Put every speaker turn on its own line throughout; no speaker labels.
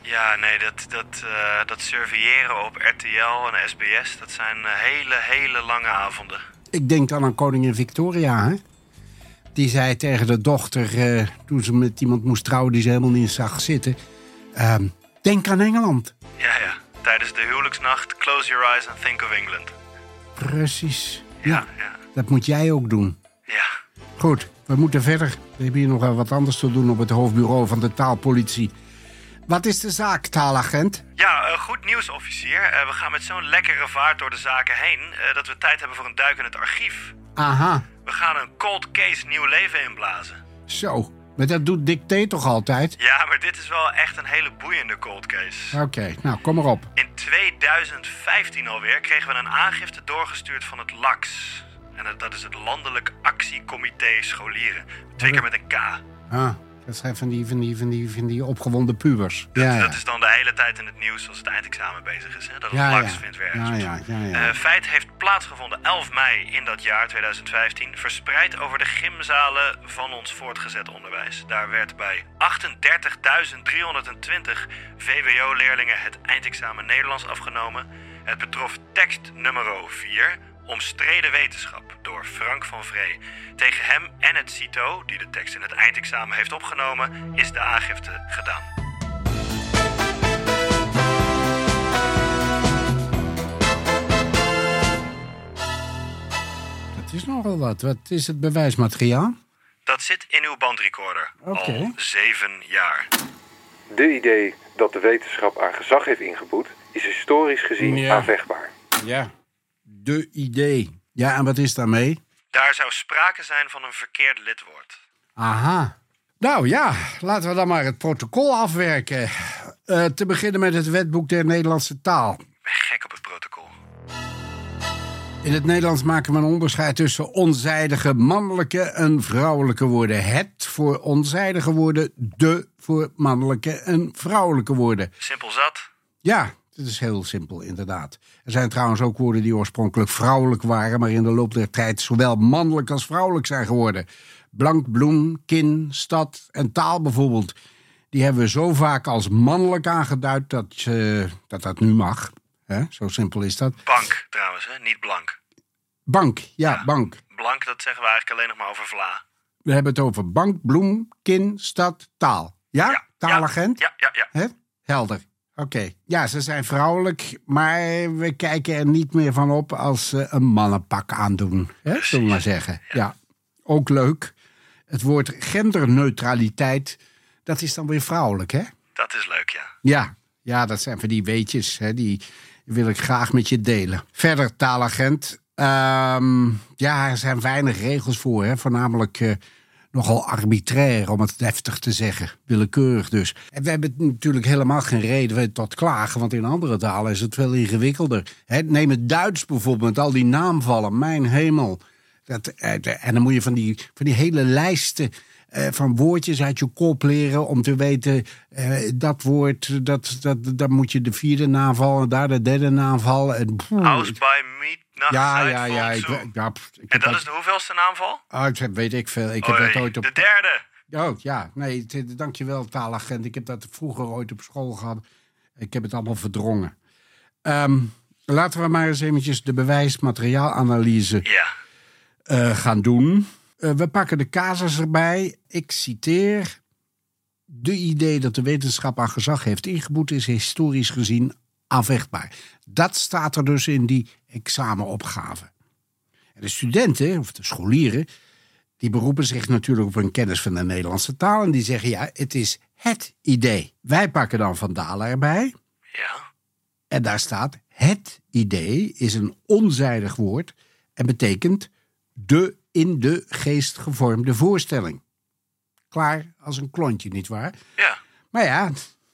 Ja, nee, dat, dat, eh, dat surveilleren op RTL en SBS, dat zijn eh, hele, hele lange avonden.
Ik denk dan aan koningin Victoria, hè? Die zei tegen de dochter, eh, toen ze met iemand moest trouwen die ze helemaal niet zag zitten... ehm, denk aan Engeland.
Ja, ja. Tijdens de huwelijksnacht, close your eyes and think of England.
Precies.
Ja, ja.
Dat moet jij ook doen.
Ja,
Goed, we moeten verder. We hebben hier nogal wat anders te doen op het hoofdbureau van de taalpolitie. Wat is de zaak, taalagent?
ja eh, goed nieuws, officier. Eh, we gaan met zo'n lekkere vaart door de zaken heen eh, dat we tijd hebben voor een duik in het archief.
Aha,
We gaan een cold case nieuw leven inblazen.
zo. Maar dat doet dicté toch altijd?
Ja, maar dit is wel echt een hele boeiende cold case.
Oké, nou kom maar op.
In 2015 alweer kregen we een aangifte doorgestuurd van het LAX. En dat- dat is het Landelijk Actiecomité Scholieren. Twee keer met een K.
Ah, dat zijn van die, van die, van die, van die opgewonden pubers.
Dat,
Ja, ja.
Dus dat is dan de hele tijd in het nieuws als het eindexamen bezig is. Hè? Dat het
Ja,
laks
ja.
vindt weer ergens.
Ja,
op.
ja, ja, ja.
Eh, feit heeft plaatsgevonden 11 mei in dat jaar 2015. Verspreid over de gymzalen van ons voortgezet onderwijs. Daar werd bij 38.320 VWO-leerlingen het eindexamen Nederlands afgenomen. Het betrof tekst nummer 4, Omstreden Wetenschap, door Frank van Vree. Tegen hem en het CITO, die de tekst in het eindexamen heeft opgenomen, is de aangifte gedaan.
Dat is nogal wat. Wat is het bewijsmateriaal?
Dat zit in uw bandrecorder.
Oké.
Al zeven jaar.
De idee dat de wetenschap aan gezag heeft ingeboet, is historisch gezien
Ja.
aanvechtbaar.
Ja. De idee. Ja, en wat is daarmee?
Daar zou sprake zijn van een verkeerd lidwoord.
Aha. Nou ja, laten we dan maar het protocol afwerken. Eh, te beginnen met het wetboek der Nederlandse taal.
Ik ben gek op het protocol.
In het Nederlands maken we een onderscheid tussen onzijdige mannelijke en vrouwelijke woorden. Het voor onzijdige woorden, de voor mannelijke en vrouwelijke woorden.
Simpel zat.
Ja, dat is heel simpel, inderdaad. Er zijn trouwens ook woorden die oorspronkelijk vrouwelijk waren, maar in de loop der tijd zowel mannelijk als vrouwelijk zijn geworden. Blank, bloem, kin, stad en taal bijvoorbeeld. Die hebben we zo vaak als mannelijk aangeduid dat je- dat, dat nu mag. hè? zo simpel is dat.
Bank trouwens, hè? niet blank.
Bank, ja, bank.
Blank, dat zeggen we eigenlijk alleen nog maar over vla.
We hebben het over bank, bloem, kin, stad, Ah, taal. Ja? Taalagent?
Ja, ja, ja.
Hè? Helder. Oké. Ja, ze zijn vrouwelijk, maar we kijken er niet meer van op als ze een mannenpak aandoen. Hè? Zullen we maar zeggen. Ja. Ook leuk. Het woord genderneutraliteit, dat is dan weer vrouwelijk, hè?
Dat is leuk, ja.
Ja. Ja, dat zijn van die weetjes. Hè? Die wil ik graag met je delen. Verder, taalagent. Ehm, ja, er zijn weinig regels voor, hè? Voornamelijk... eh, Nogal arbitrair, om het deftig te zeggen. Willekeurig dus. En we hebben natuurlijk helemaal geen reden tot klagen, want in andere talen is het veel ingewikkelder. Hè, neem het Duits bijvoorbeeld, met al die naamvallen, mijn hemel. Dat, eh, de- en dan moet je van die, van die hele lijsten eh, van woordjes uit je kop leren om te weten eh, dat woord, dat, dat, dan moet je de vierde naamval en daar de derde naamval. En, poeh,
House by meat, nacht,
ja,
zuid,
ja,
volk,
ja. Ik,
zo.
ja, pff, ik
En
heb
dat
dat-
is de hoeveelste naamval?
oh, ik heb- weet ik veel. Ik heb
Oei,
dat ooit op
De derde.
Oh ja, nee, t- dankjewel taalagent. Ik heb dat vroeger ooit op school gehad. Ik heb het allemaal verdrongen. Ehm, laten we maar eens eventjes de bewijsmateriaalanalyse
Ja.
eh, gaan doen. Eh, we pakken de casus erbij. Ik citeer. De idee dat de wetenschap aan gezag heeft ingeboet is historisch gezien aanvechtbaar. Dat staat er dus in die examenopgave. En de studenten, of de scholieren, die beroepen zich natuurlijk op hun kennis van de Nederlandse taal. En die zeggen, ja, het is het idee. Wij pakken dan Van Dalen erbij.
Ja.
En daar staat: het idee is een onzijdig woord en betekent de in de geest gevormde voorstelling. Klaar als een klontje, nietwaar?
Ja.
Maar ja,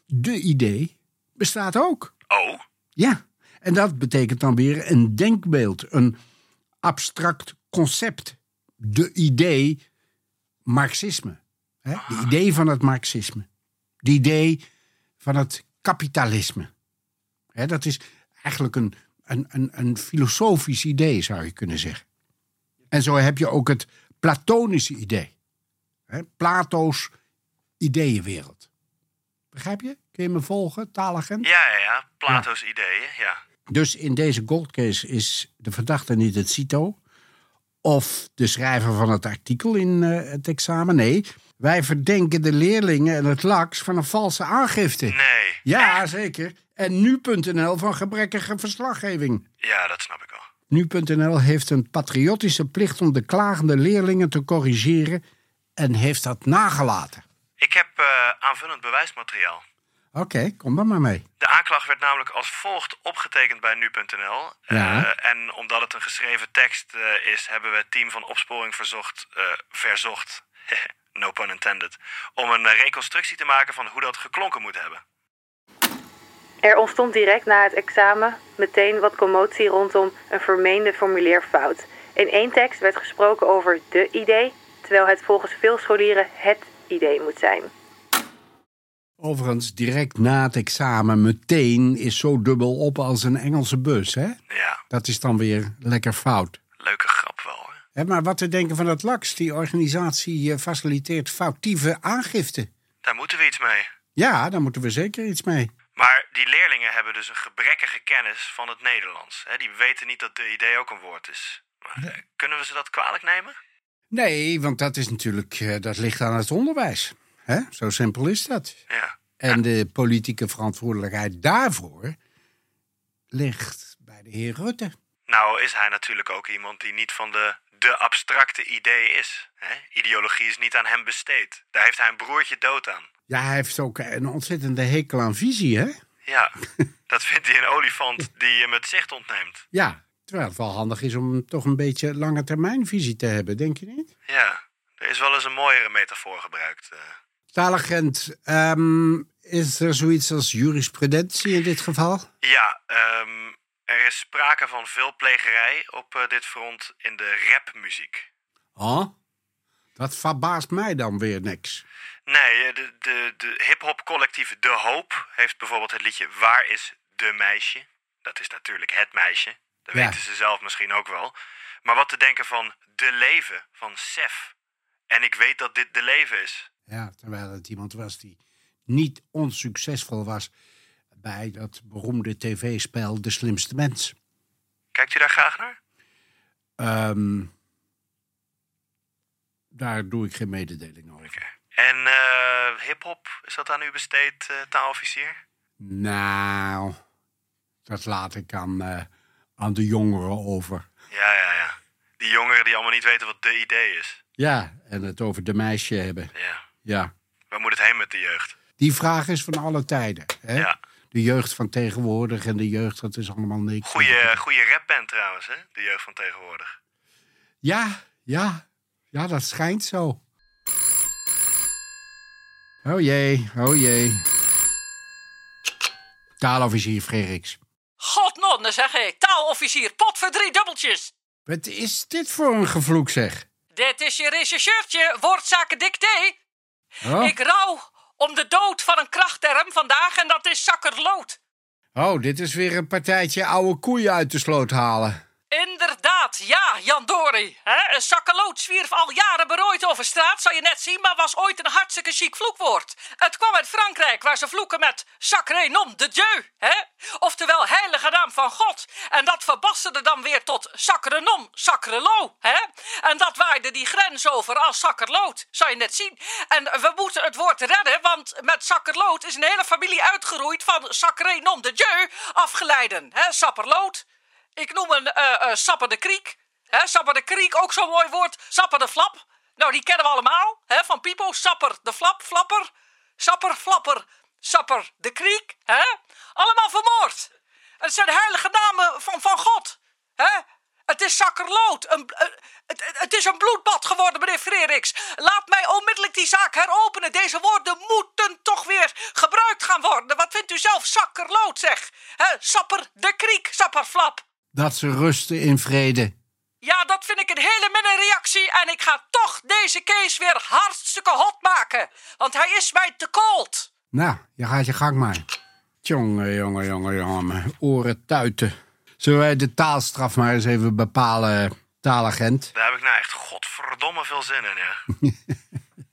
de idee bestaat ook.
Oh.
Ja, en dat betekent dan weer een denkbeeld, een abstract concept. De idee Marxisme. Hè? De idee van het Marxisme. De idee van het kapitalisme. Hè, dat is eigenlijk een, een, een, een filosofisch idee, zou je kunnen zeggen. En zo heb je ook het platonische idee. Hè? Plato's ideeënwereld. Begrijp je? Kun je me volgen, taalagent?
Ja, ja, ja. Plato's ideeën, ja.
Dus in deze goldcase is de verdachte niet het CITO of de schrijver van het artikel in eh, het examen. Nee, wij verdenken de leerlingen en het LAX van een valse aangifte.
Nee.
Ja, zeker. En nu.nl van gebrekkige verslaggeving.
Ja, dat snap ik wel.
Nu.nl heeft een patriotische plicht om de klagende leerlingen te corrigeren en heeft dat nagelaten.
Ik heb eh, aanvullend bewijsmateriaal.
Oké, kom dan maar mee.
De aanklacht werd namelijk als volgt opgetekend bij nu.nl. Eh,
Ja.
en omdat het een geschreven tekst eh, is, hebben we het team van opsporing verzocht, eh, verzocht, no pun intended, om een eh, reconstructie te maken van hoe dat geklonken moet hebben.
Er ontstond direct na het examen meteen wat commotie rondom een vermeende formulierfout. In één tekst werd gesproken over de idee, terwijl het volgens veel scholieren het idee moet zijn.
Overigens, direct na het examen meteen is zo dubbel op als een Engelse bus, hè?
Ja,
Dat is dan weer lekker fout.
leuke grap wel. Hè?
Hè, maar wat te denken van dat LAX? Die organisatie eh, faciliteert foutieve aangifte.
Daar moeten we iets mee.
Ja, daar moeten we zeker iets mee.
Maar die leerlingen hebben dus een gebrekkige kennis van het Nederlands. Hè? Die weten niet dat de idee ook een woord is. Maar, eh, kunnen we ze dat kwalijk nemen?
Nee, want dat is natuurlijk, eh, dat ligt aan het onderwijs. Hè? Zo simpel is dat.
Ja.
En de politieke verantwoordelijkheid daarvoor ligt bij de heer Rutte.
Nou is hij natuurlijk ook iemand die niet van de, de abstracte idee is. Hè? Ideologie is niet aan hem besteed. Daar heeft hij een broertje dood aan.
Ja, hij heeft ook een ontzettende hekel aan visie, hè?
Ja, dat vindt hij een olifant die hem het zicht ontneemt.
Ja, terwijl het wel handig is om toch een beetje lange termijnvisie te hebben, denk je niet?
Ja, er is wel eens een mooiere metafoor gebruikt. eh.
Taalagent, ehm, is er zoiets als jurisprudentie in dit geval?
Ja, ehm, er is sprake van veel plegerij op eh, dit front in de rapmuziek.
Oh, dat verbaast mij dan weer niks.
Nee, eh, de, de, de hip-hop collectief De Hoop heeft bijvoorbeeld het liedje Waar is de meisje? Dat is natuurlijk het meisje. Dat
Ja.
weten ze zelf misschien ook wel. Maar wat te denken van De Leven van Sef. En ik weet dat dit De Leven is.
Ja, terwijl het iemand was die niet onsuccesvol was bij dat beroemde tv-spel De Slimste Mens.
Kijkt u daar graag naar?
Ehm, daar doe ik geen mededeling over.
Oké. En eh hip-hop, is dat aan u besteed, eh, taalofficier?
Nou, dat laat ik aan, eh, aan de jongeren over.
Ja, ja, ja. Die jongeren die allemaal niet weten wat de idee is.
Ja, en het over de meisje hebben.
Ja.
Ja.
Waar moet het heen met de jeugd?
Die vraag is van alle tijden. Hè?
Ja.
De jeugd van tegenwoordig en de jeugd, dat is allemaal niks.
Goeie, eh, goeie rapband trouwens, hè? De jeugd van tegenwoordig.
Ja, ja. Ja, dat schijnt zo. Oh jee, oh jee. Taalofficier Frederiks.
Godnonne, zeg ik. Taalofficier, pot voor drie dubbeltjes.
Wat is dit voor een gevloek, zeg?
Dit is je rechercheurtje, woordzaken dicté.
Oh,
Ik rouw om de dood van een krachtterm vandaag en dat is zakkerlood.
oh dit is weer een partijtje oude koeien uit de sloot halen.
Inderdaad, ja, Jan Dory. Hè, Een zakkerlood zwierf al jaren berooid over straat, zal je net zien, maar was ooit een hartstikke chic vloekwoord. Het kwam uit Frankrijk, waar ze vloeken met sacré nom de Dieu, hè? oftewel heilige naam van God. En dat verbasterde dan weer tot sacre nom, sacre lo. Hè? En dat waaide die grens over als zakkerlood, zal je net zien. En we moeten het woord redden, want met zakkerlood is een hele familie uitgeroeid van sacré nom de Dieu afgeleiden, hè? sapperlood. Ik noem een eh eh, sapper de kriek. hè, sapper de kriek, ook zo'n mooi woord. Sapper de flap. Nou, die kennen we allemaal. hè, van Pipo, sapper de flap, flapper. Sapper, flapper, sapper de kriek. hè, Allemaal vermoord. Het zijn heilige namen van, van God. hè. Het is zakkerlood. Een, bl- eh, het, het- het is een bloedbad geworden, meneer Frederiks. Laat mij onmiddellijk die zaak heropenen. Deze woorden moeten toch weer gebruikt gaan worden. Wat vindt u zelf zakkerlood, zeg? hè, sapper de kriek, sapper flap.
Dat ze rusten in vrede.
Ja, dat vind ik een hele minne reactie. En ik ga toch deze case weer hartstikke hot maken. Want hij is mij te cold.
Nou, je gaat je gang maar. Tjonge, jonge, jonge, jonge. mijn Oren tuiten. Zullen wij de taalstraf maar eens even bepalen, taalagent?
Daar heb ik nou echt godverdomme veel zin in, ja.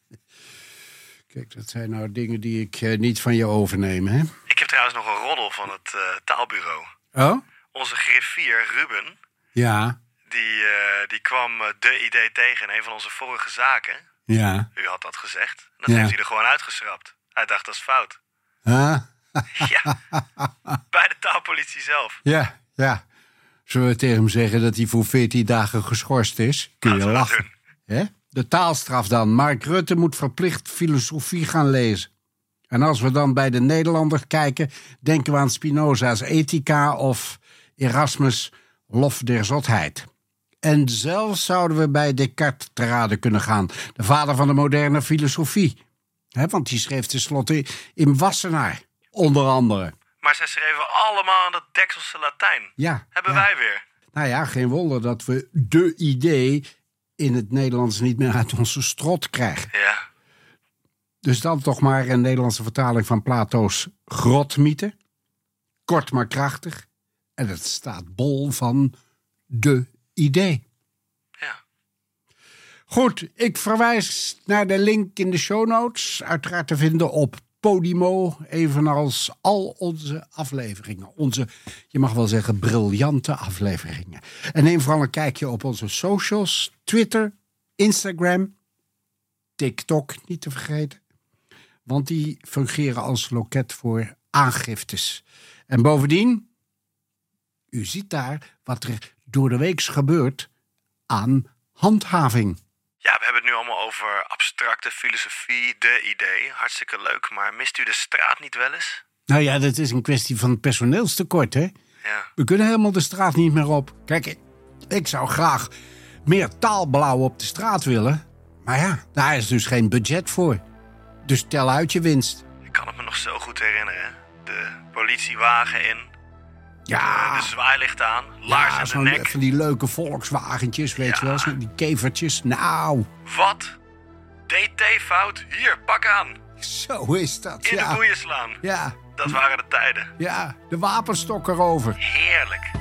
Ik Kijk, dat zijn nou dingen die ik eh, niet van je overneem, hè?
Ik heb trouwens nog een roddel van het eh, taalbureau.
Oh?
Onze griffier Ruben,
Ja,
die, eh, die kwam eh, de idee tegen in een van onze vorige zaken.
ja.
U had dat gezegd. Dat
Ja.
heeft hij er gewoon uitgeschrapt. Hij dacht dat is fout.
Huh?
Ja. Bij de taalpolitie zelf.
Ja, ja. Zullen we tegen hem zeggen dat hij voor 14 dagen geschorst is? Kun je
Laten we dat
lachen. Hè? De taalstraf dan. Mark Rutte moet verplicht filosofie gaan lezen. En als we dan bij de Nederlander kijken, denken we aan Spinoza's Ethica of Erasmus' Lof der Zotheid. En zelfs zouden we bij Descartes te raden kunnen gaan, de vader van de moderne filosofie. Hè, want die schreef tenslotte in Wassenaar, onder andere.
Maar zij schreven allemaal in dat dekselse Latijn.
Ja,
Hebben
ja.
wij weer.
Nou ja, geen wonder dat we de idee in het Nederlands niet meer uit onze strot krijgen.
Ja.
Dus dan toch maar een Nederlandse vertaling van Plato's grotmythe. Kort maar krachtig. En het staat bol van de idee.
ja.
Goed, ik verwijs naar de link in de show notes. Uiteraard te vinden op Podimo, evenals al onze afleveringen. Onze, je mag wel zeggen, briljante afleveringen. En neem vooral een kijkje op onze socials. Twitter, Instagram, TikTok, niet te vergeten. Want die fungeren als loket voor aangiftes. En bovendien, u ziet daar wat er door de weeks gebeurt aan handhaving.
Ja, we hebben het nu allemaal over abstracte filosofie, de idee. Hartstikke leuk, maar mist u de straat niet wel eens?
Nou ja, dat is een kwestie van personeelstekort, hè?
Ja.
We kunnen helemaal de straat niet meer op. Kijk, ik- ik zou graag meer taalblauw op de straat willen. Maar ja, daar is dus geen budget voor. Dus tel uit je winst.
Ik kan het me nog zo goed herinneren. De politiewagen in,
Ja,
de zwaailicht aan, laars
Ah. ja
aan de
zo'n-
nek.
van die leuke Volkswagentjes, weet je wel. zo- Die kevertjes. Nou,
Wat? DT-fout? Hier, pak aan.
zo is dat,
In de
ja.
boeien slaan.
Ja,
Dat waren de tijden.
ja, de wapenstok erover.
Heerlijk.